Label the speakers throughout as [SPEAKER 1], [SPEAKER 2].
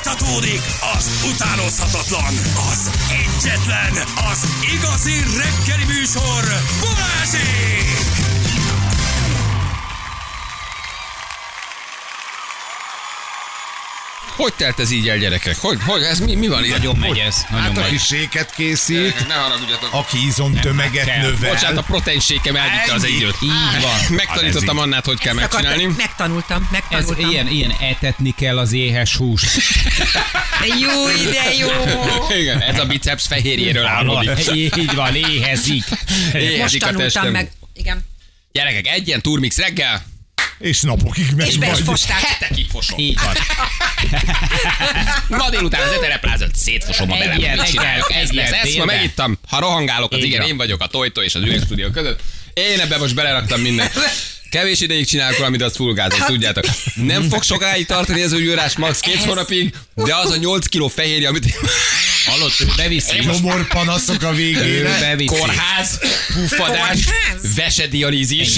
[SPEAKER 1] Folytatódik az utánozhatatlan, az egyetlen, az igazi reggeli műsor, Balázsék!
[SPEAKER 2] Hogy telt ez így el, gyerekek? Hogy, hogy ez mi, mi van így?
[SPEAKER 3] Nagyon megy ez. Nagyon
[SPEAKER 4] Hát
[SPEAKER 3] megy.
[SPEAKER 4] aki séket készít,
[SPEAKER 2] Ne haragudjatok.
[SPEAKER 4] aki izomtömeget
[SPEAKER 3] kell.
[SPEAKER 4] növel.
[SPEAKER 2] Bocsánat, a proteinsékem elvitte az
[SPEAKER 4] Ennyi.
[SPEAKER 2] együtt.
[SPEAKER 3] Hát Így van.
[SPEAKER 2] Megtanítottam
[SPEAKER 4] Ez így.
[SPEAKER 2] Annát, hogy kell
[SPEAKER 5] Ezt akartam-
[SPEAKER 2] megcsinálni.
[SPEAKER 5] Megtanultam,
[SPEAKER 3] Ez
[SPEAKER 5] megtanultam.
[SPEAKER 3] ilyen, ilyen etetni kell az éhes húst.
[SPEAKER 5] Jó ide, jó.
[SPEAKER 2] Igen, ez a biceps fehérjéről álmodik.
[SPEAKER 3] Így van, éhezik.
[SPEAKER 2] Éhezik
[SPEAKER 5] Most
[SPEAKER 2] a
[SPEAKER 5] tanultam
[SPEAKER 2] testem.
[SPEAKER 5] meg. Igen.
[SPEAKER 2] Gyerekek, egy ilyen turmix reggel,
[SPEAKER 4] És napokig megy
[SPEAKER 5] És be is
[SPEAKER 4] majd.
[SPEAKER 5] fosták.
[SPEAKER 2] hetekig fosom.
[SPEAKER 3] Így van.
[SPEAKER 2] Ma délután az etereplázat szétfosom a
[SPEAKER 3] Egy
[SPEAKER 2] belem.
[SPEAKER 3] ilyen,
[SPEAKER 2] Mit
[SPEAKER 3] egy
[SPEAKER 2] csinálok?
[SPEAKER 3] ilyen,
[SPEAKER 2] Ez
[SPEAKER 3] egy
[SPEAKER 2] lesz,
[SPEAKER 3] ilyen
[SPEAKER 2] ezt ma
[SPEAKER 3] térben.
[SPEAKER 2] megittam. Ha rohangálok, az
[SPEAKER 3] Így
[SPEAKER 2] igen,
[SPEAKER 3] van.
[SPEAKER 2] én vagyok a tojtó és az üres stúdió között. Én ebbe most beleraktam mindent. Kevés ideig csinálok valamit, azt fullgázom, tudjátok. Nem fog sokáig tartani ez a gyúrás, max két
[SPEAKER 5] Ez-
[SPEAKER 2] hónapig, de az a 8 kiló fehérje, amit
[SPEAKER 3] Hallott, ő beviszi.
[SPEAKER 4] Gyomor panaszok a
[SPEAKER 3] Ő
[SPEAKER 4] végére.
[SPEAKER 3] beviszi.
[SPEAKER 2] kórház, puffadás,
[SPEAKER 5] Kórház?
[SPEAKER 2] vesedialízis,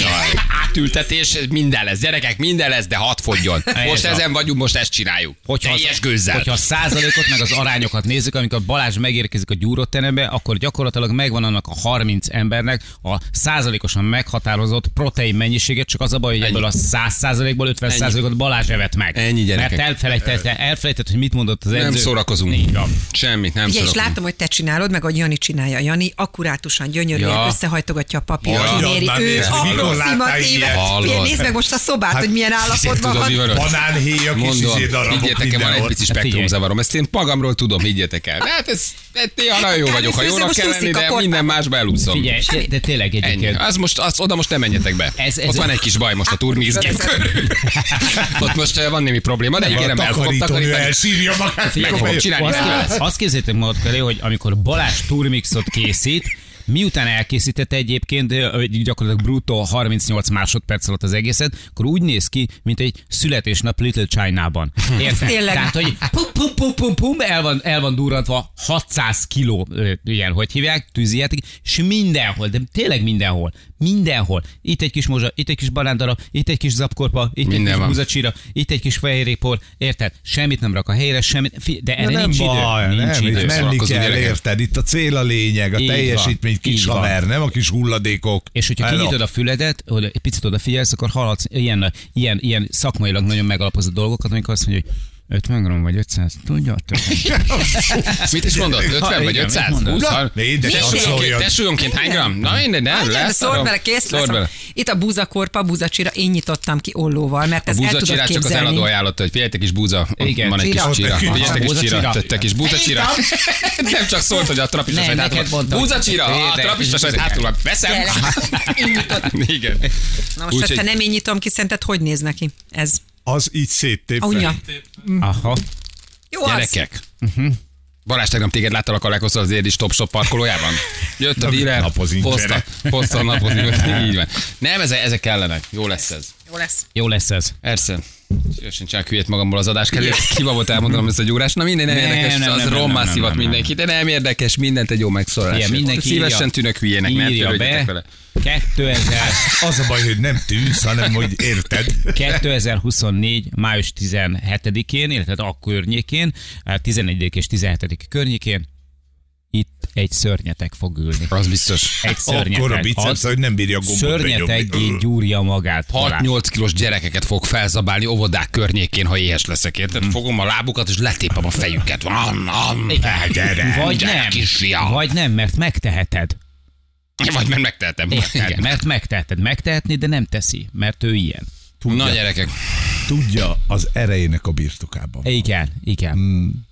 [SPEAKER 2] átültetés, minden lesz. Gyerekek, minden lesz, de hat fogjon. Most
[SPEAKER 3] van.
[SPEAKER 2] ezen vagyunk, most ezt csináljuk.
[SPEAKER 3] Hogyha
[SPEAKER 2] Teljes
[SPEAKER 3] az,
[SPEAKER 2] gőzzel.
[SPEAKER 3] hogyha a százalékot meg az arányokat nézzük, amikor Balázs megérkezik a gyúróterembe, akkor gyakorlatilag megvan annak a 30 embernek a százalékosan meghatározott protein mennyiséget, csak az a baj, hogy ebből a 100 százalékból 50
[SPEAKER 2] Ennyi.
[SPEAKER 3] százalékot Balázs evett meg.
[SPEAKER 2] Ennyi, gyerekek.
[SPEAKER 3] Mert elfelejtett, elfelejtett, hogy mit mondott az edző.
[SPEAKER 2] Nem szórakozunk.
[SPEAKER 3] Így van.
[SPEAKER 2] Semmit nem
[SPEAKER 5] Ugye, és
[SPEAKER 2] szórakozunk.
[SPEAKER 5] látom, hogy te csinálod, meg hogy Jani csinálja. Jani akkurátusan, gyönyörűen
[SPEAKER 2] Ja.
[SPEAKER 5] ja. összehajtogatja a papírt,
[SPEAKER 2] Ja.
[SPEAKER 5] ja. kiméri.
[SPEAKER 4] Jaj,
[SPEAKER 5] Ő
[SPEAKER 4] Mária, mikor
[SPEAKER 5] apróximat
[SPEAKER 4] láttál
[SPEAKER 5] éve.
[SPEAKER 4] ilyet? Hát,
[SPEAKER 2] Hallod.
[SPEAKER 5] Figyelj, Nézd meg most a szobát, hogy milyen állapotban
[SPEAKER 2] Tudod, mi
[SPEAKER 5] van.
[SPEAKER 2] van ott?
[SPEAKER 4] Banánhéjak és
[SPEAKER 2] Mondom,
[SPEAKER 4] izé darabok
[SPEAKER 2] higgyetek el, van egy
[SPEAKER 4] mindenhol.
[SPEAKER 2] pici
[SPEAKER 3] Hát
[SPEAKER 2] spektrumzavarom. Ezt én magamról tudom, higgyetek el. Hát ez, ez néha nagyon jó
[SPEAKER 5] Hát
[SPEAKER 2] vagyok, ha
[SPEAKER 5] kávéfőző
[SPEAKER 2] jónak
[SPEAKER 5] most
[SPEAKER 2] kell lenni,
[SPEAKER 5] úszik a
[SPEAKER 2] de
[SPEAKER 5] kortában.
[SPEAKER 2] minden másba elúszom.
[SPEAKER 3] Figyelj, de, de tényleg
[SPEAKER 2] Ennyi.
[SPEAKER 3] egyébként.
[SPEAKER 2] Az most, az, oda most nem menjetek be.
[SPEAKER 3] Ez- ez-
[SPEAKER 2] Ott van egy kis baj most a turmizgép körül. Ott most eh, van némi probléma, de
[SPEAKER 4] A
[SPEAKER 2] igen, el fogom
[SPEAKER 4] takarítónő
[SPEAKER 2] takarítani.
[SPEAKER 4] elsírja
[SPEAKER 3] Hát
[SPEAKER 4] magát.
[SPEAKER 2] Meg fogom csinálni ezt vele.
[SPEAKER 3] Azt, azt képzeljétek magatok elé, hogy amikor Balázs turmixot készít, miután elkészítette egyébként ö, gyakorlatilag brutó 38 másodperc alatt az egészet, akkor úgy néz ki, mint egy születésnap Little China-ban. Érted?
[SPEAKER 5] Tényleg.
[SPEAKER 3] Tehát, hogy pum, pum, pum, pum, pum, el van, el van durrantva 600 kiló, ö, ilyen, hogy hívják, tűzijáték, és mindenhol, de tényleg mindenhol, mindenhol. Itt egy kis mozsa, itt egy kis barándarab, itt egy kis zapkorpa, itt
[SPEAKER 2] Minden
[SPEAKER 3] egy kis
[SPEAKER 2] van.
[SPEAKER 3] húzacsira, itt egy kis fehérépor, érted? Semmit nem rak a helyére, semmit, fi- de
[SPEAKER 4] Na
[SPEAKER 3] erre
[SPEAKER 4] nem
[SPEAKER 3] nincs
[SPEAKER 4] baj,
[SPEAKER 3] idő. Nincs
[SPEAKER 4] nem,
[SPEAKER 3] idő.
[SPEAKER 4] itt menni
[SPEAKER 2] szórakozó
[SPEAKER 4] kell,
[SPEAKER 2] gyerekek.
[SPEAKER 4] érted? Itt a cél a lényeg, a
[SPEAKER 3] Így van,
[SPEAKER 4] teljesítmény kis
[SPEAKER 3] így van.
[SPEAKER 4] haver, nem a kis hulladékok.
[SPEAKER 3] És hogyha
[SPEAKER 4] Hello.
[SPEAKER 3] kinyitod a füledet, hogy egy picit odafigyelsz, akkor hallatsz ilyen, ilyen, ilyen szakmailag nagyon megalapozott dolgokat, amikor azt mondja, hogy 50 gram vagy 500, tudja?
[SPEAKER 2] Mit is mondod? 50 vagy
[SPEAKER 3] igen, mit
[SPEAKER 2] 500?
[SPEAKER 3] mondod?
[SPEAKER 2] 20? har-
[SPEAKER 4] Ne, de
[SPEAKER 2] Testsúlyonként-
[SPEAKER 4] kapcsoljon.
[SPEAKER 2] Testsúlyonként hány gram? Na mindegy, nem,
[SPEAKER 5] Hagyjad,
[SPEAKER 2] lesz.
[SPEAKER 5] Szór
[SPEAKER 2] adom.
[SPEAKER 5] bele, kész
[SPEAKER 2] Szór
[SPEAKER 5] lesz.
[SPEAKER 2] bele.
[SPEAKER 5] Itt a búzakorpa, a búzacsira, én nyitottam ki ollóval, mert
[SPEAKER 2] A
[SPEAKER 5] ezt el
[SPEAKER 2] búza
[SPEAKER 5] tudod
[SPEAKER 2] csirát csak az eladó
[SPEAKER 5] képzelni.
[SPEAKER 2] ajánlotta, hogy figyeljetek is búza,
[SPEAKER 3] Igen,
[SPEAKER 2] van egy kis
[SPEAKER 5] csira.
[SPEAKER 2] csira.
[SPEAKER 4] Ott
[SPEAKER 3] nekünk
[SPEAKER 2] Figyeljetek is
[SPEAKER 3] van. Búza
[SPEAKER 2] csira,
[SPEAKER 3] csira.
[SPEAKER 2] tettek is búza csira. Nem csak szólt, hogy a trapista
[SPEAKER 3] Nem,
[SPEAKER 2] sajt
[SPEAKER 3] neked
[SPEAKER 2] hátul van.
[SPEAKER 3] mondtam.
[SPEAKER 2] Búza csira, a
[SPEAKER 3] Érdekes,
[SPEAKER 2] trapista sajt
[SPEAKER 3] érdekes.
[SPEAKER 2] hátul van. Veszem. Igen.
[SPEAKER 5] Na most, ha
[SPEAKER 2] Úgyhogy-
[SPEAKER 5] te nem én nyitom ki, szerinted hogy néz neki ez?
[SPEAKER 4] Az így széttép.
[SPEAKER 5] Aunya.
[SPEAKER 3] Aha.
[SPEAKER 5] Jó az.
[SPEAKER 2] Gyerekek. Mhm. Balázs, tegnap téged láttalak a leghosszabb az Érdis Top Shop parkolójában. Jött a díler,
[SPEAKER 4] napozink
[SPEAKER 2] hozta,
[SPEAKER 4] vele.
[SPEAKER 2] hozta napozni, így van. Nem, ezek, ezek kellenek, jó lesz ez.
[SPEAKER 5] Jó lesz.
[SPEAKER 3] Jó lesz ez.
[SPEAKER 2] Persze. Szívesen csinálok hülyét magamból az adás kerül. Hiba volt elmondanom ezt a gyúrás. Na minden nem
[SPEAKER 3] Nem,
[SPEAKER 2] érdekes,
[SPEAKER 3] nem,
[SPEAKER 2] az
[SPEAKER 3] nem, nem,
[SPEAKER 2] rommá
[SPEAKER 3] nem, nem,
[SPEAKER 2] szivat
[SPEAKER 3] nem, nem.
[SPEAKER 2] mindenki, de nem érdekes, mindent egy jó megszólalás.
[SPEAKER 3] Ilyen,
[SPEAKER 2] ért.
[SPEAKER 3] mindenki
[SPEAKER 2] Szívesen
[SPEAKER 3] írja-
[SPEAKER 2] tűnök hülyének, ne
[SPEAKER 3] Írja
[SPEAKER 2] törődjetek
[SPEAKER 3] be.
[SPEAKER 2] vele.
[SPEAKER 3] 2000,
[SPEAKER 4] Az a baj, hogy nem tűnsz, hanem hogy érted.
[SPEAKER 3] 2024. május 17-én, illetve hát a környékén, 11 és 17 környékén itt egy szörnyetek fog ülni.
[SPEAKER 2] Az biztos.
[SPEAKER 3] Egy
[SPEAKER 4] Akkor a
[SPEAKER 3] szörnyetek.
[SPEAKER 4] bicepsz, hogy nem bírja a gombot
[SPEAKER 3] Szörnyeteggé
[SPEAKER 4] benyomni.
[SPEAKER 3] gyúrja magát. Balázs.
[SPEAKER 2] 6-8 kilós gyerekeket fog felzabálni óvodák környékén, ha éhes leszek,
[SPEAKER 3] Hm.
[SPEAKER 2] érted? Fogom a lábukat és letépem a fejüket. Am, am, gyere,
[SPEAKER 3] Vagy
[SPEAKER 2] gyere,
[SPEAKER 3] nem,
[SPEAKER 2] Kisfiam. Vagy,
[SPEAKER 3] vagy nem, mert megteheted.
[SPEAKER 2] vagy mert megtehetem.
[SPEAKER 3] Érted?
[SPEAKER 2] Igen.
[SPEAKER 3] Mert megteheted. Megtehetni, de nem teszi, mert ő ilyen.
[SPEAKER 2] Na gyerekek,
[SPEAKER 4] Tudja az erejének a birtokában.
[SPEAKER 3] Igen, igen.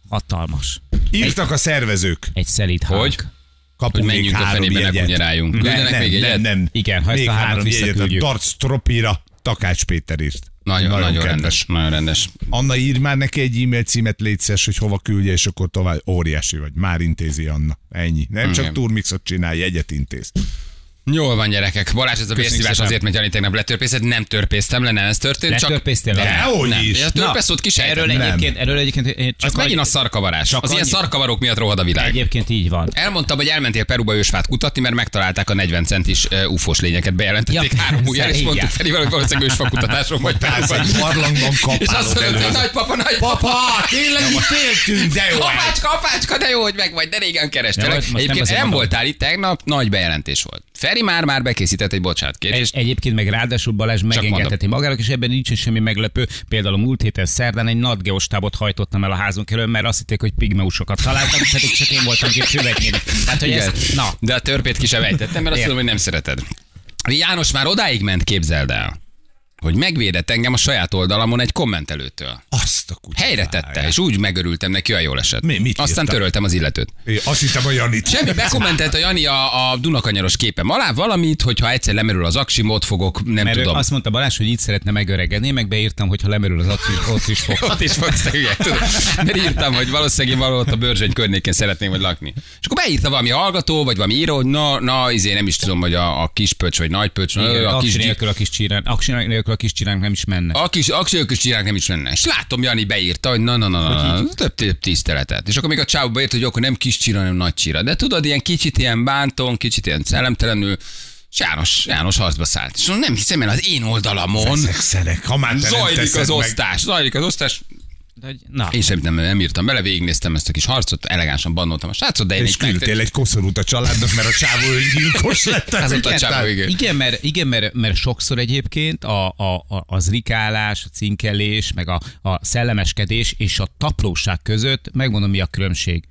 [SPEAKER 3] Hatalmas.
[SPEAKER 4] Írtak a szervezők.
[SPEAKER 3] Hmm. Egy szelíd hang.
[SPEAKER 2] Hogy?
[SPEAKER 4] Kapunk
[SPEAKER 2] Hogy menjünk
[SPEAKER 4] még
[SPEAKER 2] a
[SPEAKER 4] három
[SPEAKER 2] fenébe, ne
[SPEAKER 4] jegyet.
[SPEAKER 2] kunyeráljunk. Küldenek
[SPEAKER 4] Nem,
[SPEAKER 2] még
[SPEAKER 4] nem,
[SPEAKER 2] egyet?
[SPEAKER 4] nem, nem.
[SPEAKER 3] Igen, ha ezt
[SPEAKER 4] még
[SPEAKER 3] a hármat
[SPEAKER 4] három jegyet a
[SPEAKER 3] visszaküldjük.
[SPEAKER 4] Darc Tropira Takács Péter írt.
[SPEAKER 2] nagyon, nagyon,
[SPEAKER 4] kedves.
[SPEAKER 2] rendes. Nagyon rendes.
[SPEAKER 4] Anna ír már neki egy e-mail címet létszes, hogy hova küldje, és akkor tovább. Óriási vagy. Már intézi Anna. Ennyi. Nem csak
[SPEAKER 2] Igen.
[SPEAKER 4] turmixot csinál, jegyet intéz.
[SPEAKER 2] Jól van, gyerekek. Balázs, ez a
[SPEAKER 3] Köszönjük
[SPEAKER 2] vérszívás
[SPEAKER 3] szépen.
[SPEAKER 2] azért megy el tegnap letörpészed. Nem törpésztem le, nem ez történt. csak-
[SPEAKER 3] Letörpésztél le?
[SPEAKER 4] Dehogy
[SPEAKER 2] nem.
[SPEAKER 4] is.
[SPEAKER 2] Ez törpeszót ki
[SPEAKER 3] Erről
[SPEAKER 2] Erről egy...
[SPEAKER 3] egyébként, erről egyébként én csak
[SPEAKER 2] Csak megint
[SPEAKER 3] annyi-
[SPEAKER 2] a szarkavarás.
[SPEAKER 3] Csak
[SPEAKER 2] Az ilyen
[SPEAKER 3] annyi-
[SPEAKER 2] szarkavarok miatt rohad a világ.
[SPEAKER 3] Egyébként így van.
[SPEAKER 2] Elmondtam, hogy elmentél Peruba ősfát kutatni, mert megtalálták a 40 centis ö, ufós lényeket, bejelentették
[SPEAKER 3] Ja,
[SPEAKER 2] három ujjal, és
[SPEAKER 3] igen.
[SPEAKER 2] mondtuk Ferivel, hogy valószínűleg ősfa kutatáson vagy Perúban.
[SPEAKER 4] egy barlangban kapálod
[SPEAKER 2] És azt mondod, hogy
[SPEAKER 4] előre.
[SPEAKER 2] nagypapa, nagypapa,
[SPEAKER 4] Papa, tényleg itt éltünk, de jó.
[SPEAKER 2] Apácska, apácska, de jó, hogy meg vagy, de régen
[SPEAKER 3] De
[SPEAKER 2] kerestelek.
[SPEAKER 3] vagy, most nem
[SPEAKER 2] Egyébként nem,
[SPEAKER 3] beszélem adom.
[SPEAKER 2] voltál itt tegnap, nagy bejelentés volt. Feri már már bekészített egy bocsánatkérést.
[SPEAKER 3] És egyébként meg ráadásul Balázs megengedheti magának, és ebben nincs is semmi meglepő. Például a múlt héten szerdán egy nagy geostábot hajtottam el a házunk elől, mert azt hitték, hogy pigmeusokat találtam, pedig csak én voltam két követni. Tehát, hogy
[SPEAKER 2] Igen.
[SPEAKER 3] ez, na,
[SPEAKER 2] De a törpét ki sem ejtettem, mert azt
[SPEAKER 3] Igen.
[SPEAKER 2] tudom, hogy nem szereted. János már odáig ment, képzeld el, hogy megvédett engem a saját oldalamon egy kommentelőtől.
[SPEAKER 4] Azt a kutyát.
[SPEAKER 2] Helyre tette, és úgy megörültem neki, olyan jól esett.
[SPEAKER 4] Mi- mit
[SPEAKER 2] Aztán
[SPEAKER 4] írta?
[SPEAKER 2] töröltem az illetőt.
[SPEAKER 4] É, Azt hittem a Janit.
[SPEAKER 2] Semmi, bekommentelt a Jani a, a Dunakanyaros képem alá valamit, hogyha egyszer lemerül az aksim, ott fogok, nem
[SPEAKER 3] mert ő
[SPEAKER 2] tudom.
[SPEAKER 3] azt mondta Balázs, hogy így szeretne megöregedni, én meg beírtam, hogy ha lemerül az ott is, ott is fog.
[SPEAKER 2] Ott is fogsz te ügyek, tudod. Mert írtam, hogy valószínűleg én valahol ott a bőrzsöny környékén szeretném majd lakni. És akkor beírta valami hallgató, vagy valami író, hogy na, na, izé nem is tudom, hogy a, a kispöcs, vagy nagypöcs,
[SPEAKER 3] Igen,
[SPEAKER 2] a
[SPEAKER 3] aksi
[SPEAKER 2] kis
[SPEAKER 3] nélkül a kis csirán, aksi nélkül a kis csiránk nem is menne.
[SPEAKER 2] a kis aksiökös csirák nem is lenne. És látom, Jani beírta, hogy na, na, na, na, na több, több tiszteletet. És akkor még a csávó beírta, hogy akkor nem kis csira, hanem nagy csira. De tudod, ilyen kicsit ilyen bánton, kicsit ilyen szellemtelenül. És János, János harcba szállt. És mondom, nem hiszem el, az én oldalamon
[SPEAKER 4] Szenek, ha már te nem
[SPEAKER 2] zajlik
[SPEAKER 4] teszed
[SPEAKER 2] az
[SPEAKER 4] meg.
[SPEAKER 2] osztás, zajlik az osztás.
[SPEAKER 3] De hogy- Na,
[SPEAKER 2] Én semmit nem, nem írtam bele, végignéztem ezt a kis harcot, elegánsan bannoltam a srácot, de én
[SPEAKER 4] És
[SPEAKER 2] így megtettem.
[SPEAKER 4] küldtél egy koszorút a családnak, mert a csávó öngyilkos lett.
[SPEAKER 2] Ez ott a
[SPEAKER 4] Tehát-
[SPEAKER 2] csávó, igen.
[SPEAKER 3] Igen, mert, igen mert, mert sokszor egyébként a, a, a, az rikálás, a cinkelés, meg a, a szellemeskedés és a taplóság között, megmondom mi a különbség.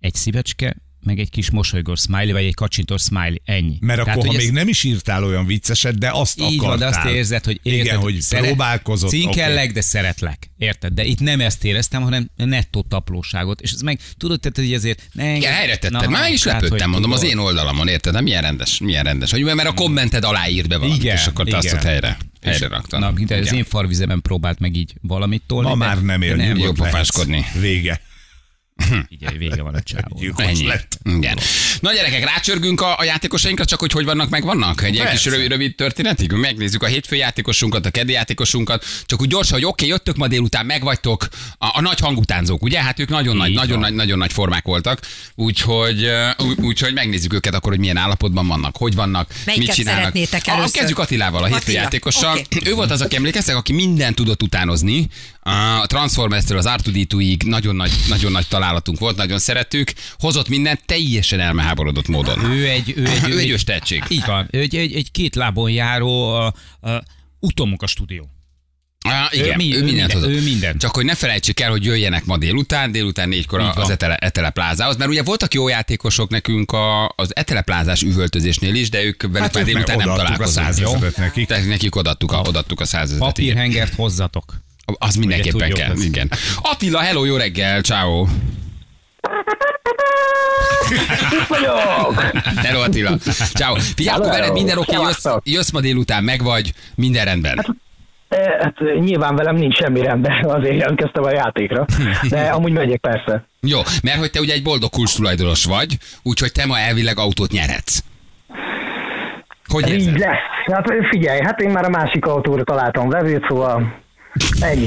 [SPEAKER 3] Egy szívecske, meg egy kis mosolygós smiley, vagy egy kacsintós smiley, ennyi.
[SPEAKER 4] Mert akkor, ha
[SPEAKER 3] hogy
[SPEAKER 4] még
[SPEAKER 3] ezt-
[SPEAKER 4] nem is írtál olyan vicceset, de azt
[SPEAKER 3] így
[SPEAKER 4] akartál.
[SPEAKER 3] van, de azt érzed, hogy érted,
[SPEAKER 4] Igen, hogy
[SPEAKER 3] szeret-
[SPEAKER 4] próbálkozott.
[SPEAKER 3] Cinkellek, de szeretlek. Érted? De itt nem ezt éreztem, hanem nettó taplóságot. És ez meg, tudod, tehát, hogy ezért... Ne,
[SPEAKER 2] Igen, helyre tetted. Már meg is
[SPEAKER 3] tehát,
[SPEAKER 2] lepődtem,
[SPEAKER 3] hát, hogy
[SPEAKER 2] mondom, az
[SPEAKER 3] tudod.
[SPEAKER 2] én oldalamon, érted? Nem milyen rendes, milyen rendes. Hogy mert a kommented alá írd be valamit,
[SPEAKER 3] Igen,
[SPEAKER 2] és akkor te azt
[SPEAKER 3] igen.
[SPEAKER 2] ott helyre, helyre raktad.
[SPEAKER 3] Na, de az
[SPEAKER 2] Igen.
[SPEAKER 3] én farvizemen próbált meg így valamit tolni.
[SPEAKER 4] Ma
[SPEAKER 3] de-
[SPEAKER 4] már nem él,
[SPEAKER 3] de
[SPEAKER 4] nyugodt
[SPEAKER 2] jó
[SPEAKER 4] lehetsz.
[SPEAKER 2] pofáskodni.
[SPEAKER 4] Vége.
[SPEAKER 3] Figyelj, vége van a csávó.
[SPEAKER 4] Gyilkos
[SPEAKER 2] Ennyi.
[SPEAKER 4] lett.
[SPEAKER 2] Igen. Na gyerekek, rácsörgünk a, a játékosainkra, csak hogy hogy vannak, meg vannak. Egy ilyen kis
[SPEAKER 4] Persze.
[SPEAKER 2] rövid, rövid történetig. Megnézzük a hétfő játékosunkat, a keddi játékosunkat. Csak úgy gyorsan, hogy oké, okay, jöttök ma délután, megvagytok. A, a nagy hangutánzók, ugye? Hát ők nagyon nagy, nagyon nagy, nagyon nagy formák voltak. Úgyhogy, ö, ú- úgyhogy megnézzük őket akkor, hogy milyen állapotban vannak, hogy vannak,
[SPEAKER 5] Melyiket
[SPEAKER 2] mit csinálnak.
[SPEAKER 5] szeretnétek
[SPEAKER 2] A,
[SPEAKER 5] először?
[SPEAKER 2] kezdjük Attilával, a hétfő
[SPEAKER 5] Attila,
[SPEAKER 2] játékossal.
[SPEAKER 5] oké.
[SPEAKER 2] Ő volt az, aki emlékeztek, aki mindent tudott utánozni. A Transformers-től az R2D2-ig nagyon nagy, nagyon nagy találatunk volt, nagyon szerettük. Hozott mindent teljesen elmeháborodott módon.
[SPEAKER 3] Ő egy, ő egy,
[SPEAKER 2] Ő
[SPEAKER 3] ő
[SPEAKER 2] egy
[SPEAKER 3] egy,
[SPEAKER 2] ős tehetség.
[SPEAKER 3] így van, ő egy, egy, egy két lábon járó, a, a, utomunk a stúdió.
[SPEAKER 2] Á, igen, ő,
[SPEAKER 3] mi-
[SPEAKER 2] ő,
[SPEAKER 3] ő
[SPEAKER 2] mindent
[SPEAKER 3] minden-
[SPEAKER 2] hozott.
[SPEAKER 3] ő mindent.
[SPEAKER 2] Csak hogy ne felejtsük el, hogy jöjjenek ma délután, délután négykor
[SPEAKER 3] Így
[SPEAKER 2] az
[SPEAKER 3] van.
[SPEAKER 2] etele, etele plázához, mert ugye voltak jó játékosok nekünk a, az eteleplázás üvöltözésnél is, de ők velük hát
[SPEAKER 4] Hát
[SPEAKER 2] már
[SPEAKER 4] ők meg
[SPEAKER 2] délután nem
[SPEAKER 4] odaadtuk a
[SPEAKER 2] találkozunk. jó?
[SPEAKER 4] százezret nekik.
[SPEAKER 2] Tehát nekik odaadtuk a, odaadtuk a százezret. igen.
[SPEAKER 3] Papírhengert Hát hozzatok.
[SPEAKER 2] Az mindenképpen
[SPEAKER 3] tudjuk,
[SPEAKER 2] kell.
[SPEAKER 3] az-
[SPEAKER 2] Igen. Attila, hello, jó reggel, ciao.
[SPEAKER 6] Itt vagyok!
[SPEAKER 2] Hello Attila. Ciao. Figyelj, akkor
[SPEAKER 6] Hello.
[SPEAKER 2] veled minden oké, jössz,
[SPEAKER 6] Sziasztok.
[SPEAKER 2] jössz ma délután, meg vagy, minden rendben.
[SPEAKER 6] E, Hát nyilván velem nincs semmi rendben, azért jelentkeztem a játékra, de amúgy megyek persze.
[SPEAKER 2] Jó, mert hogy te ugye egy boldog kulcs tulajdonos vagy, úgyhogy te ma elvileg autót nyerhetsz. Hogy
[SPEAKER 6] Így
[SPEAKER 2] érzed?
[SPEAKER 6] lesz. Hát figyelj, hát én már a másik autóra találtam vevőt, szóval ennyi.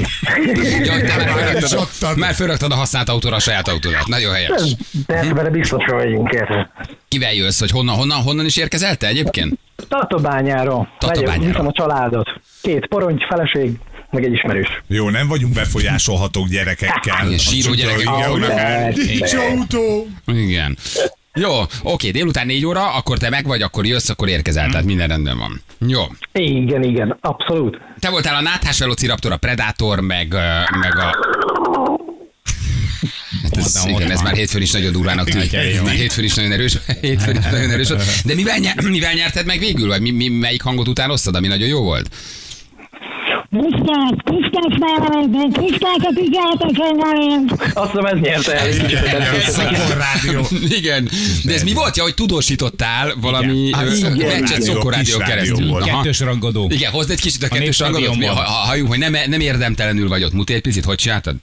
[SPEAKER 2] Ja, hogy te már fölraktad, a,
[SPEAKER 4] Csattad.
[SPEAKER 2] már fölraktad a használt autóra a saját autódat. Nagyon helyes.
[SPEAKER 6] De vele biztosra vagyunk, érted?
[SPEAKER 2] Kivel jössz, hogy honnan, honnan, honnan is érkezel te egyébként?
[SPEAKER 6] Tatabányáról.
[SPEAKER 2] Tatabányáról.
[SPEAKER 6] Megyek, Viszem a családot. Két poroncs, feleség, meg egy ismerős.
[SPEAKER 4] Jó, nem vagyunk befolyásolhatók gyerekekkel.
[SPEAKER 2] Igen, síró gyerekek vannak.
[SPEAKER 4] Nincs autó.
[SPEAKER 2] Igen. Jó, oké, délután négy óra, akkor te meg vagy, akkor jössz, akkor érkezel, tehát minden rendben van. Jó.
[SPEAKER 6] Igen, igen, abszolút.
[SPEAKER 2] Te voltál a náthás velociraptor, a predátor, meg, ö, meg a... Hát ez,
[SPEAKER 3] Mondom,
[SPEAKER 2] igen,
[SPEAKER 3] ott
[SPEAKER 2] ez
[SPEAKER 3] van.
[SPEAKER 2] már hétfőn is nagyon durvának tűnik.
[SPEAKER 3] Igen, jó.
[SPEAKER 2] Már hétfőn is nagyon erős. Hétfőn is nagyon erős. volt. De mivel, nyer, mivel nyerted meg végül? Vagy mi, mi, melyik hangot utánoztad, ami nagyon jó volt?
[SPEAKER 7] Tisztelt, tisztelt felvezető, tisztelt a tisztelt engem.
[SPEAKER 6] Azt hiszem ez nyerte el.
[SPEAKER 4] Szokor rádió.
[SPEAKER 2] Igen. De ez mi volt? Ja, hogy tudósítottál valami
[SPEAKER 4] Igen.
[SPEAKER 2] ö,
[SPEAKER 4] Hát, igen.
[SPEAKER 2] meccset
[SPEAKER 4] Rádió,
[SPEAKER 2] szokorádió
[SPEAKER 4] kis rádió
[SPEAKER 2] keresztül.
[SPEAKER 4] volt.
[SPEAKER 2] Aha.
[SPEAKER 3] Kettős rangadó.
[SPEAKER 2] Igen, hozd egy kicsit a
[SPEAKER 3] még
[SPEAKER 2] kettős rangadót. mi-
[SPEAKER 3] stadionban.
[SPEAKER 2] ha- ha- Halljuk, hogy nem, nem érdemtelenül vagy ott. Muti egy picit, hogy csináltad?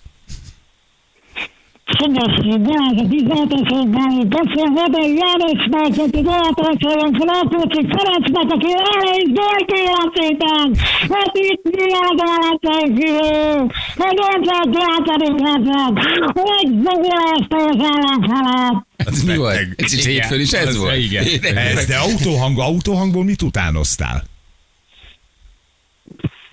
[SPEAKER 7] Szegesség, Balázs a tisztelteségben, így beszél Vedel Jánosnak, aki Balatonszolon Flapóci Ferencnek, aki elején Zsolt életében, mert itt világállat egy egy ötlet játékletet, hogy megjelezte az ellenfelet.
[SPEAKER 3] Ez mi volt?
[SPEAKER 4] beteg.
[SPEAKER 3] Ez is
[SPEAKER 2] Igen.
[SPEAKER 3] hétfőn is ez
[SPEAKER 2] Az-
[SPEAKER 3] volt?
[SPEAKER 2] igen.
[SPEAKER 4] Ez, de autóhang, autóhangból mit utánoztál?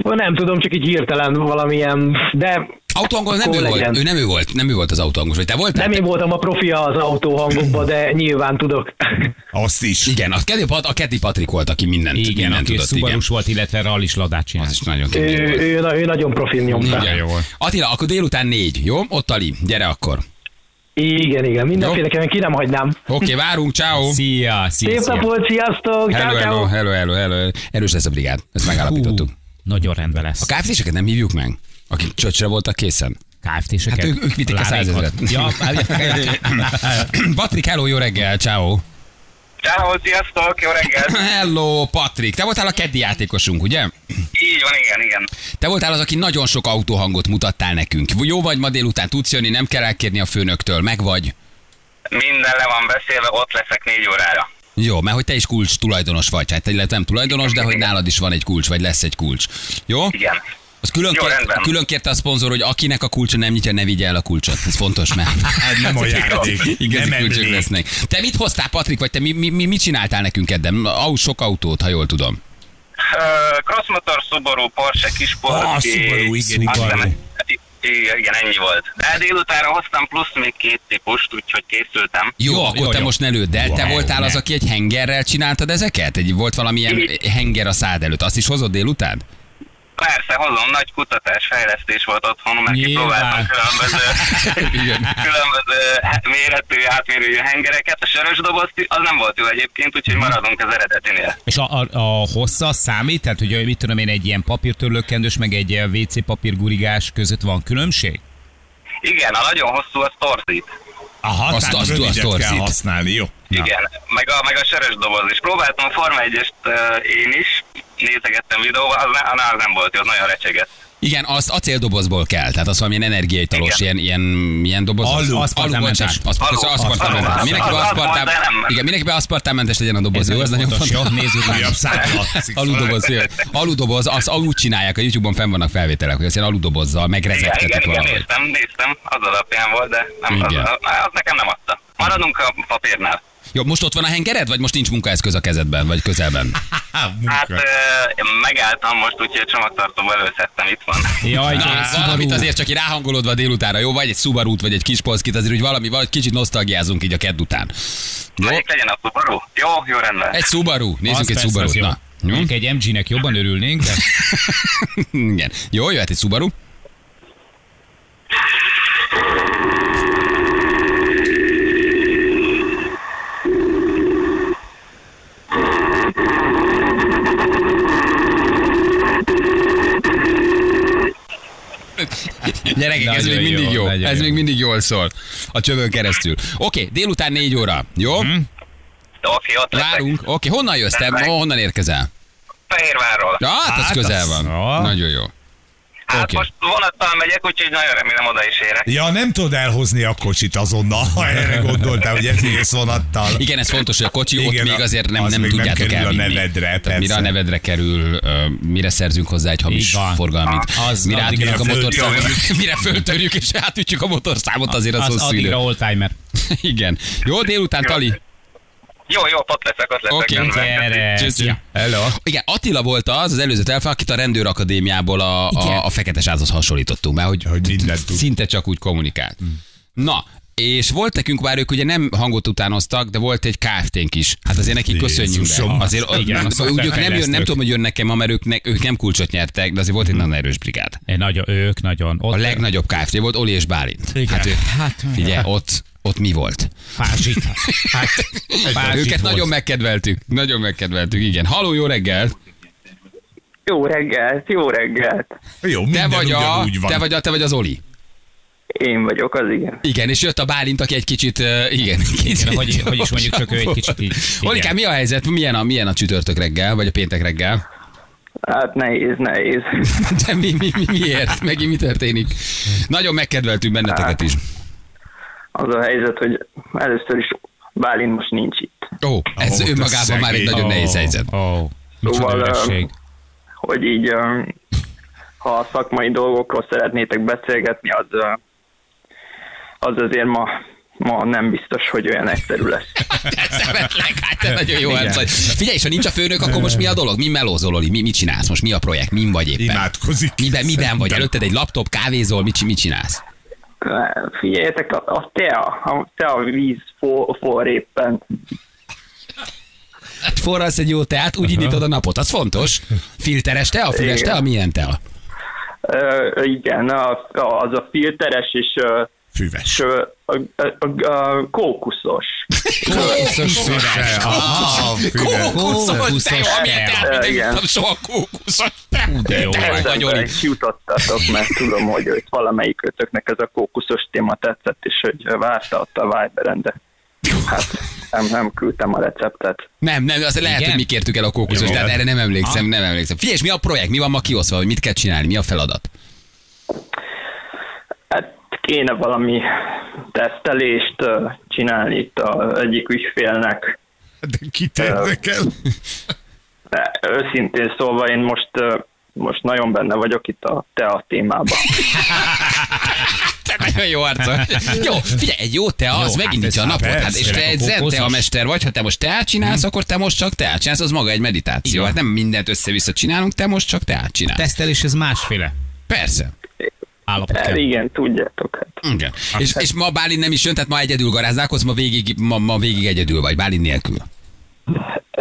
[SPEAKER 6] Nem tudom, csak így hirtelen valamilyen, de
[SPEAKER 3] Autóhangon nem ő
[SPEAKER 6] Akkor legyen.
[SPEAKER 3] volt. Ő nem ő volt. Nem ő volt az autóhangos. Vagy te voltál?
[SPEAKER 6] nem
[SPEAKER 3] Te-
[SPEAKER 6] én voltam a profia az autóhangokban, de nyilván tudok.
[SPEAKER 4] Azt is.
[SPEAKER 3] Igen, a Kedi, Pat- a Kedi Patrik volt, aki mindent,
[SPEAKER 2] Igen,
[SPEAKER 3] mindent
[SPEAKER 2] aki
[SPEAKER 3] tudott. Igen.
[SPEAKER 2] szubarus volt, illetve rallis ladát
[SPEAKER 3] Az
[SPEAKER 2] csinált.
[SPEAKER 3] is nagyon kemény
[SPEAKER 6] Ő,
[SPEAKER 3] volt.
[SPEAKER 6] ő, na- ő nagyon profin nyomta.
[SPEAKER 3] Igen,
[SPEAKER 2] jó volt.
[SPEAKER 3] Attila, akkor délután négy, jó? Ott Ali, gyere akkor.
[SPEAKER 6] Igen, igen, mindenféleképpen ki nem hagynám.
[SPEAKER 3] Oké, várunk, ciao.
[SPEAKER 2] Szia, szia,
[SPEAKER 6] Szép
[SPEAKER 2] szia.
[SPEAKER 6] napot, sziasztok! ciao,
[SPEAKER 3] Hello, hello,
[SPEAKER 6] ciao.
[SPEAKER 3] hello, hello, hello. Erős lesz a brigád, ezt megállapítottuk.
[SPEAKER 2] Hú, Nagyon rendben
[SPEAKER 3] A
[SPEAKER 2] lesz.
[SPEAKER 3] kft nem hívjuk meg, akik csöcsre voltak készen.
[SPEAKER 2] KFT-seket.
[SPEAKER 3] Hát ők, ők vitték a
[SPEAKER 2] Lávékot.
[SPEAKER 3] százezret.
[SPEAKER 2] Ja,
[SPEAKER 3] Patrik, hello, jó reggel, ciao.
[SPEAKER 8] Ciao, sziasztok, jó reggelt!
[SPEAKER 3] Hello, Patrik. Te voltál a keddi játékosunk, ugye?
[SPEAKER 8] Így van, igen, igen.
[SPEAKER 3] Te voltál az, aki nagyon sok autóhangot mutattál nekünk. Jó vagy ma délután, tudsz jönni, nem kell elkérni a főnöktől, meg vagy.
[SPEAKER 8] Minden le van beszélve, ott leszek négy órára.
[SPEAKER 3] Jó, mert hogy te is kulcs tulajdonos vagy, hát illetve nem tulajdonos, de hogy nálad is van egy kulcs, vagy lesz egy kulcs. Jó?
[SPEAKER 8] Igen.
[SPEAKER 3] Az külön,
[SPEAKER 8] Jó,
[SPEAKER 3] kért,
[SPEAKER 8] rendben.
[SPEAKER 3] külön kérte a szponzor, hogy akinek a kulcsa nem nyitja, ne vigye el a kulcsot. Ez fontos, mert
[SPEAKER 4] Hát nem a játék.
[SPEAKER 3] igazi
[SPEAKER 4] nem
[SPEAKER 3] kulcsok
[SPEAKER 4] emlék.
[SPEAKER 3] lesznek. Te mit hoztál, Patrik, vagy te mi, mi, mi mit csináltál nekünk edden? Au, sok autót, ha jól tudom.
[SPEAKER 8] Ö, Crossmotor, Subaru, Porsche, Kisport.
[SPEAKER 4] Ah,
[SPEAKER 8] és
[SPEAKER 4] Subaru, igen,
[SPEAKER 8] azt
[SPEAKER 4] Subaru.
[SPEAKER 8] hiszem, i- igen, ennyi volt. De délutánra hoztam plusz még két típust, úgyhogy készültem.
[SPEAKER 3] Jó, jó akkor
[SPEAKER 2] jó,
[SPEAKER 3] te
[SPEAKER 2] jó.
[SPEAKER 3] most ne lőd el. Te
[SPEAKER 2] Wow,
[SPEAKER 3] voltál
[SPEAKER 2] ne.
[SPEAKER 3] az, aki egy hengerrel csináltad ezeket? Egy, volt valamilyen henger a szád előtt. Azt is hozod délután?
[SPEAKER 8] Persze, hozom, nagy kutatás, fejlesztés volt otthon, mert
[SPEAKER 2] Nyilván.
[SPEAKER 8] kipróbáltam különböző,
[SPEAKER 3] Igen.
[SPEAKER 8] különböző hát, méretű, átmérőjű hengereket. A sörös doboz az nem volt jó egyébként, úgyhogy maradunk az eredetinél.
[SPEAKER 2] és a, a, a hossza az számít? Tehát, hogy mit tudom én, egy ilyen papírtörlőkendős, meg egy ilyen WC papírgurigás között van különbség?
[SPEAKER 8] Igen, a nagyon hosszú az torzít.
[SPEAKER 4] Aha,
[SPEAKER 3] Azt-
[SPEAKER 4] tehát
[SPEAKER 3] azt-
[SPEAKER 4] rövidet
[SPEAKER 3] azt
[SPEAKER 4] kell
[SPEAKER 3] torzít.
[SPEAKER 4] használni, jó?
[SPEAKER 8] Igen, meg a, meg a sörös doboz is. Próbáltam a Forma 1 én is, nézegettem videóval, az, ne, na, az nem volt jó, az nagyon recsegett.
[SPEAKER 3] Igen, azt acéldobozból kell, tehát az valamilyen energiaitalos, ilyen, ilyen, ilyen doboz. az?
[SPEAKER 2] Alu-
[SPEAKER 3] Alumentes.
[SPEAKER 2] aszpartámmentes.
[SPEAKER 3] Aszpartámmentes.
[SPEAKER 8] Alu-
[SPEAKER 3] Aszpartámmentes.
[SPEAKER 8] aszpartámmentes.
[SPEAKER 3] Mindenkiben
[SPEAKER 8] Az- az volt,
[SPEAKER 3] aszpartám...
[SPEAKER 8] de nem.
[SPEAKER 3] Igen, mindenkiben aszpartámmentes legyen a doboz, jó? Ez nagyon fontos.
[SPEAKER 2] Jó, nézzük meg.
[SPEAKER 4] Újabb szállat.
[SPEAKER 3] Aludoboz, jaj. aludoboz, azt úgy csinálják, a YouTube-on fenn vannak felvételek, hogy azt ilyen aludobozzal
[SPEAKER 8] Igen, igen,
[SPEAKER 3] megrezegtetik
[SPEAKER 8] igen,
[SPEAKER 3] valahogy.
[SPEAKER 8] néztem, néztem, az alapján volt, de nem, az,
[SPEAKER 3] Igen.
[SPEAKER 8] az, az, nekem nem adta. Maradunk a papírnál.
[SPEAKER 3] Jó, most ott van a hengered, vagy most nincs munkaeszköz a kezedben, vagy közelben?
[SPEAKER 8] Hát ö, megálltam most, úgyhogy a csomagtartóba előszedtem, itt van.
[SPEAKER 2] Jaj,
[SPEAKER 3] Na,
[SPEAKER 2] Na,
[SPEAKER 3] valamit azért csak így ráhangolódva délutánra, jó? Vagy egy subaru vagy egy kis polszkit, azért úgy valami, valahogy kicsit nosztalgiázunk így a kedd után. Jó?
[SPEAKER 8] Melyik legyen a Subaru? Jó, jó rendben.
[SPEAKER 3] Egy Subaru, nézzünk egy Subaru-t, na. Jó?
[SPEAKER 2] Mondjuk egy MG-nek jobban örülnénk, de
[SPEAKER 3] Igen. Jó, jöhet egy Subaru. Gyerekek, ez
[SPEAKER 2] Nagyon
[SPEAKER 3] még
[SPEAKER 2] jó,
[SPEAKER 3] mindig jó.
[SPEAKER 2] nagyon
[SPEAKER 3] Ez
[SPEAKER 2] jó.
[SPEAKER 3] még mindig jól szól. A csövön keresztül. Oké, délután négy óra. Jó?
[SPEAKER 2] Mhm.
[SPEAKER 8] Oké, ott leszek.
[SPEAKER 3] Várunk. Oké, honnan jössz te?
[SPEAKER 8] Rendben.
[SPEAKER 3] Honnan érkezel?
[SPEAKER 8] Fehérvárról.
[SPEAKER 3] Ja, hát, az
[SPEAKER 2] Hát
[SPEAKER 3] közel
[SPEAKER 2] az-
[SPEAKER 3] van.
[SPEAKER 2] Ja.
[SPEAKER 3] Nagyon jó.
[SPEAKER 8] Hát
[SPEAKER 3] oké.
[SPEAKER 8] most vonattal megyek, úgyhogy nagyon remélem oda is érek.
[SPEAKER 4] Ja, nem tudod elhozni a kocsit azonnal, ha erre gondoltál, hogy egész vonattal.
[SPEAKER 3] Igen, ez fontos, hogy a kocsi Igen, ott
[SPEAKER 4] Igen,
[SPEAKER 3] még
[SPEAKER 4] a-
[SPEAKER 3] azért nem,
[SPEAKER 4] az
[SPEAKER 3] nem
[SPEAKER 4] még nem
[SPEAKER 3] tudjátok
[SPEAKER 4] kerül a
[SPEAKER 3] elvinni.
[SPEAKER 4] nevedre,
[SPEAKER 3] Tehát
[SPEAKER 4] persze.
[SPEAKER 3] mire a nevedre kerül, ö, mire szerzünk hozzá egy hamis
[SPEAKER 2] Így van.
[SPEAKER 3] forgalmit.
[SPEAKER 2] Az
[SPEAKER 3] mire
[SPEAKER 2] addigra
[SPEAKER 3] átütjük a
[SPEAKER 4] föl-
[SPEAKER 3] motorszámot, mire föltörjük és átütjük a motorszámot, azért az,
[SPEAKER 2] az,
[SPEAKER 3] hosszú idő.
[SPEAKER 2] addigra oldtimer.
[SPEAKER 3] Igen. Jó, délután, Tali.
[SPEAKER 8] Jó, jó, ott leszek, ott leszek.
[SPEAKER 3] Oké,
[SPEAKER 8] rendben.
[SPEAKER 2] Gyere,
[SPEAKER 3] Csüssi.
[SPEAKER 2] szia.
[SPEAKER 4] Hello.
[SPEAKER 3] Igen, Attila volt az, az előző telefon, akit a rendőrakadémiából a, a, a Fekete Sázhoz hasonlítottunk, mert hogy,
[SPEAKER 4] Hogy mindent tud. Mm.
[SPEAKER 3] szinte csak úgy kommunikált. Na, és volt nekünk, bár ők ugye nem hangot utánoztak, de volt egy KFT-nk is. Hát azért nekik köszönjük be.
[SPEAKER 4] Jézusom.
[SPEAKER 3] Azért
[SPEAKER 2] Igen,
[SPEAKER 3] igen, úgy, ők nem, jön, nem
[SPEAKER 2] szoftverfejlesztők.
[SPEAKER 3] tudom, hogy jönnek-e ma, mert ők, ne, ők nem kulcsot nyertek, de azért
[SPEAKER 4] Mm.
[SPEAKER 3] volt egy nagyon erős brigád.
[SPEAKER 2] Egy Nagyon, ők nagyon. Ott
[SPEAKER 3] A legnagyobb KFT volt Oli és Bálint.
[SPEAKER 2] Igen.
[SPEAKER 3] Hát, ő,
[SPEAKER 2] Hát,
[SPEAKER 3] figyelj, ott, ott mi volt?
[SPEAKER 2] Pázsit. Hát, pázsit
[SPEAKER 3] Őket
[SPEAKER 2] volt.
[SPEAKER 3] nagyon megkedveltük. Nagyon megkedveltük, igen. Haló, jó reggel!
[SPEAKER 9] Jó reggelt, jó reggelt.
[SPEAKER 4] Jó,
[SPEAKER 3] Te
[SPEAKER 4] minden
[SPEAKER 3] vagy, a,
[SPEAKER 4] ugyanúgy van.
[SPEAKER 3] te vagy a, te vagy az Oli.
[SPEAKER 9] Én vagyok az igen.
[SPEAKER 3] Igen, és jött a Bálint, aki egy kicsit, uh, igen, kicsit
[SPEAKER 2] hogy- hogy is mondjuk,
[SPEAKER 3] gyorsabb
[SPEAKER 2] csak ő egy
[SPEAKER 3] volt.
[SPEAKER 2] kicsit így- igen.
[SPEAKER 3] Olikám, mi a helyzet? Milyen a, milyen a csütörtök reggel, vagy a péntek reggel?
[SPEAKER 9] Hát nehéz, nehéz.
[SPEAKER 3] De mi, mi, mi, miért? Megint mi történik? Nagyon megkedveltünk benneteket is.
[SPEAKER 8] az a helyzet, hogy először is Bálint most nincs itt.
[SPEAKER 2] Ó, ez
[SPEAKER 4] Ó, te
[SPEAKER 2] önmagában már egy
[SPEAKER 4] szegény.
[SPEAKER 2] nagyon nehéz helyzet.
[SPEAKER 3] Ó, micsoda
[SPEAKER 8] Szóval,
[SPEAKER 3] örökség.
[SPEAKER 8] öm, hogy így, öm, ha a szakmai dolgokról szeretnétek beszélgetni, az, ö, az azért ma, ma nem biztos, hogy olyan egyszerű lesz.
[SPEAKER 2] Te Szeretlek, hát te nagyon jó
[SPEAKER 3] Igen.
[SPEAKER 2] arc vagy. Figyelj, és ha nincs a főnök, akkor most mi a dolog? Mi melózol, Oli? Mi, mit csinálsz most? Mi a projekt? Min vagy éppen?
[SPEAKER 4] Imádkozik.
[SPEAKER 2] Miben, miben vagy? Előtted egy laptop, kávézol, mit, csi- mit csinálsz?
[SPEAKER 8] Figyeljetek, a, a tea, a tea víz for, for éppen.
[SPEAKER 2] Hát Forralsz egy jó teát, úgy indítod a napot, az fontos. Filteres tea, füles
[SPEAKER 8] Igen.
[SPEAKER 2] tea, milyen tea?
[SPEAKER 8] Ö, igen, a, a, az a filteres és ö, és,
[SPEAKER 4] Füves.
[SPEAKER 8] ö, a, a, a, a kókuszos.
[SPEAKER 3] Kókuszos
[SPEAKER 4] Füves. Ah, füves.
[SPEAKER 2] Kókuszos tea,
[SPEAKER 3] tea.
[SPEAKER 2] amilyen teát még nem
[SPEAKER 8] Igen.
[SPEAKER 2] ittam soha kókuszos teát.
[SPEAKER 3] de jó
[SPEAKER 2] Te
[SPEAKER 3] vagy.
[SPEAKER 2] vagy, Oli.
[SPEAKER 8] jutottatok, mert tudom, hogy itt valamelyik ötöknek ez a kókuszos téma tetszett, és hogy várta ott a Viberen, de hát nem, nem küldtem a receptet.
[SPEAKER 2] Nem, nem, azt lehet,
[SPEAKER 3] Igen?
[SPEAKER 2] hogy mi kértük el a kókuszos,
[SPEAKER 4] Jó.
[SPEAKER 2] tehát erre nem emlékszem, nem emlékszem. Figyelj, és mi a projekt, mi van ma kioszva, hogy mit kell csinálni, mi a feladat?
[SPEAKER 8] Hát kéne valami tesztelést ö, csinálni itt a egyik ügyfélnek.
[SPEAKER 4] De kit érdekel?
[SPEAKER 8] De őszintén szólva én most, ö, most nagyon benne vagyok itt a tea témában.
[SPEAKER 2] Te nagyon jó arca. Jó, figyelj, egy jó te az
[SPEAKER 3] Jó,
[SPEAKER 2] megindítja
[SPEAKER 3] hát
[SPEAKER 2] a
[SPEAKER 3] ez-
[SPEAKER 2] napot. Hát,
[SPEAKER 3] persze,
[SPEAKER 2] és te
[SPEAKER 3] főleg
[SPEAKER 2] egy
[SPEAKER 3] a
[SPEAKER 2] zen
[SPEAKER 3] kókuszos.
[SPEAKER 2] te a mester vagy, ha te most teát csinálsz, akkor te most csak teát csinálsz, az maga egy meditáció.
[SPEAKER 3] Igen.
[SPEAKER 2] Hát nem mindent össze-vissza csinálunk, te most csak teát csinálsz.
[SPEAKER 3] Tesztelés ez másféle
[SPEAKER 2] Persze.
[SPEAKER 3] állapot
[SPEAKER 8] Hát
[SPEAKER 3] kell.
[SPEAKER 8] igen, tudjátok. Hát.
[SPEAKER 2] Igen. És, és ma Bálin nem is jön, tehát ma egyedül garázdálkodsz, ma végig, ma, ma végig egyedül vagy, Bálin nélkül.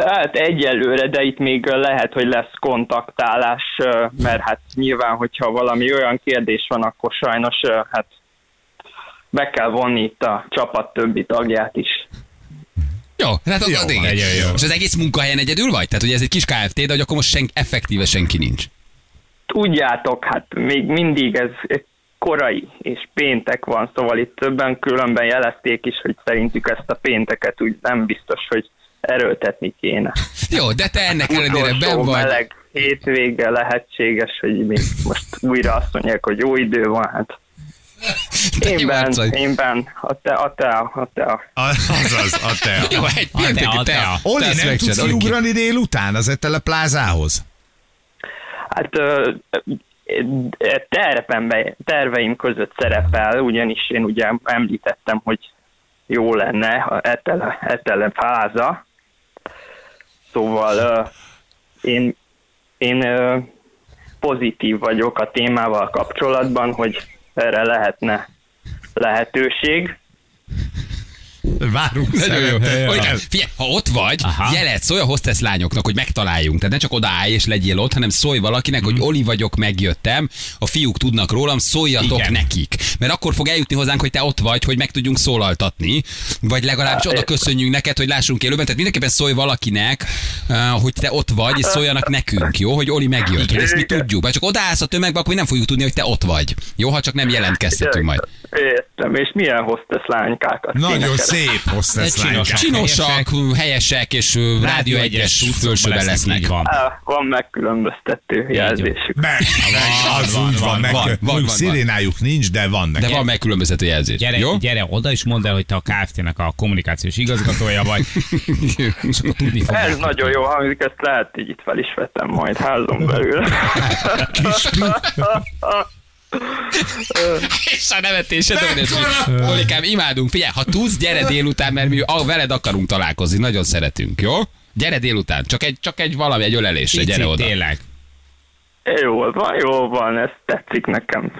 [SPEAKER 8] Hát egyelőre, de itt még lehet, hogy lesz kontaktálás, ö, mert hát nyilván, hogyha valami olyan kérdés van, akkor sajnos ö, hát be kell vonni itt a csapat többi tagját is.
[SPEAKER 2] Jó, hát akkor
[SPEAKER 4] Jó
[SPEAKER 2] jó,
[SPEAKER 4] van,
[SPEAKER 2] igen.
[SPEAKER 4] nagyon jó.
[SPEAKER 2] És az egész munkahelyen egyedül vagy? Tehát ugye ez egy kis KFT, de hogy akkor most senki, effektíve senki nincs.
[SPEAKER 8] Tudjátok, hát még mindig ez ez korai, és péntek van, szóval itt többen különben jelezték is, hogy szerintük ezt a pénteket úgy nem biztos, hogy erőltetni kéne.
[SPEAKER 2] Jó, de te ennek ellenére ben
[SPEAKER 8] Utolsó
[SPEAKER 2] vagy.
[SPEAKER 8] meleg hétvége lehetséges, hogy még most újra azt mondják, hogy jó idő van, hát
[SPEAKER 2] Te
[SPEAKER 8] Én
[SPEAKER 2] jó
[SPEAKER 8] ben,
[SPEAKER 2] arca vagy.
[SPEAKER 8] én ben, a te, a te, a te.
[SPEAKER 4] A- Azaz, a te.
[SPEAKER 2] Jó, egy
[SPEAKER 3] A
[SPEAKER 2] pénteki
[SPEAKER 3] tea,
[SPEAKER 2] tea.
[SPEAKER 3] a tea.
[SPEAKER 4] Oli,
[SPEAKER 2] Te azt
[SPEAKER 4] nem tudsz
[SPEAKER 2] megcsinálod, oké.
[SPEAKER 4] kiugrani délután az Ettele plázához?
[SPEAKER 8] Hát ö, ö, tervembe, terveim között szerepel, ugyanis én ugye említettem, hogy jó lenne a etele, etele fáza. Szóval ö, én, én ö, pozitív vagyok a témával kapcsolatban, hogy erre lehetne lehetőség.
[SPEAKER 4] Várunk
[SPEAKER 2] Nagyon jó.
[SPEAKER 4] szeretettel.
[SPEAKER 2] Olyan, Figyelj, ha ott vagy,
[SPEAKER 3] Aha.
[SPEAKER 2] jeledsz olyan hostess lányoknak, hogy megtaláljunk. Tehát ne csak odaállj és legyél ott, hanem szólj valakinek, hogy Oli vagyok, megjöttem, a fiúk tudnak rólam, szóljatok
[SPEAKER 3] Igen.
[SPEAKER 2] nekik. Mert akkor fog eljutni hozzánk, hogy te ott vagy, hogy meg tudjunk szólaltatni, vagy legalábbis oda köszönjünk neked, hogy lássunk élőben. Tehát mindenképpen szólj valakinek, eh, hogy te ott vagy, és szóljanak nekünk, jó? Hogy Oli megjött. Hogy ezt mi tudjuk. Ha csak odaállsz a tömegbe, akkor mi nem fogjuk tudni, hogy te ott vagy. Jó, ha csak nem jelentkeztetünk majd.
[SPEAKER 8] Értem, és milyen hostess lánykákat.
[SPEAKER 4] Nagyon
[SPEAKER 8] énekelek.
[SPEAKER 4] szép hostess
[SPEAKER 3] Egy
[SPEAKER 4] lányka.
[SPEAKER 3] csinos-
[SPEAKER 2] Csinosak, helyesek és ö, Rádió egyes
[SPEAKER 3] egyes
[SPEAKER 2] fölsőben
[SPEAKER 3] utcokban
[SPEAKER 2] lesznek.
[SPEAKER 3] így Van.
[SPEAKER 8] Á, Van megkülönböztető jelzésük.
[SPEAKER 4] Meg, az
[SPEAKER 3] van,
[SPEAKER 4] úgy van,
[SPEAKER 3] van,
[SPEAKER 4] meg,
[SPEAKER 2] van, van,
[SPEAKER 4] mondjuk
[SPEAKER 2] van.
[SPEAKER 4] szirénájuk nincs, de van
[SPEAKER 2] De
[SPEAKER 4] neki.
[SPEAKER 2] van megkülönböztető jelzés.
[SPEAKER 3] Gyere,
[SPEAKER 2] Jó?
[SPEAKER 3] gyere oda, és mondd el, hogy te a KFT-nek a kommunikációs igazgatója vagy. És akkor tudni fogják.
[SPEAKER 8] Ez nagyon jó hangzik, ezt lehet, hogy itt fel is vettem majd házon belül.
[SPEAKER 2] És a nevetése Olikám, imádunk. Figyelj, ha tudsz, gyere délután, mert mi a, veled akarunk találkozni. Nagyon szeretünk, jó? Gyere délután, csak egy, csak egy valami, egy ölelésre,
[SPEAKER 3] Pici,
[SPEAKER 2] gyere oda.
[SPEAKER 3] Tényleg.
[SPEAKER 8] Jól van, jól van, ez tetszik nekem.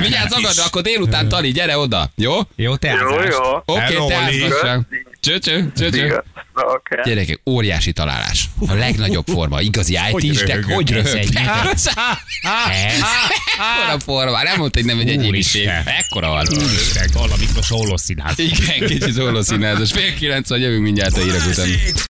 [SPEAKER 2] Vigyázz magadra, akkor délután, Tali, gyere oda, jó?
[SPEAKER 3] Jó, te
[SPEAKER 8] Jó, jó.
[SPEAKER 2] Oké,
[SPEAKER 4] Hello,
[SPEAKER 2] te
[SPEAKER 4] Oli.
[SPEAKER 2] ázgassál. Cső, cső, cső, cső.
[SPEAKER 8] Igaz, oké.
[SPEAKER 2] Gyerekek, óriási találás. A legnagyobb forma, igazi it is, de
[SPEAKER 4] röhögök?
[SPEAKER 2] hogy
[SPEAKER 3] Ez egy
[SPEAKER 2] röhög. Hát,
[SPEAKER 3] nagyon- Ez?
[SPEAKER 2] Ekkora forma, nem mondta, hogy nem egy egyéniség.
[SPEAKER 3] Úristen.
[SPEAKER 2] Ekkora van.
[SPEAKER 3] Úristen, valami most színház.
[SPEAKER 2] Hát Igen, kicsit oloszínázas. Fél kilenc, vagy jövünk mindjárt a hírek után.
[SPEAKER 1] Balázsék!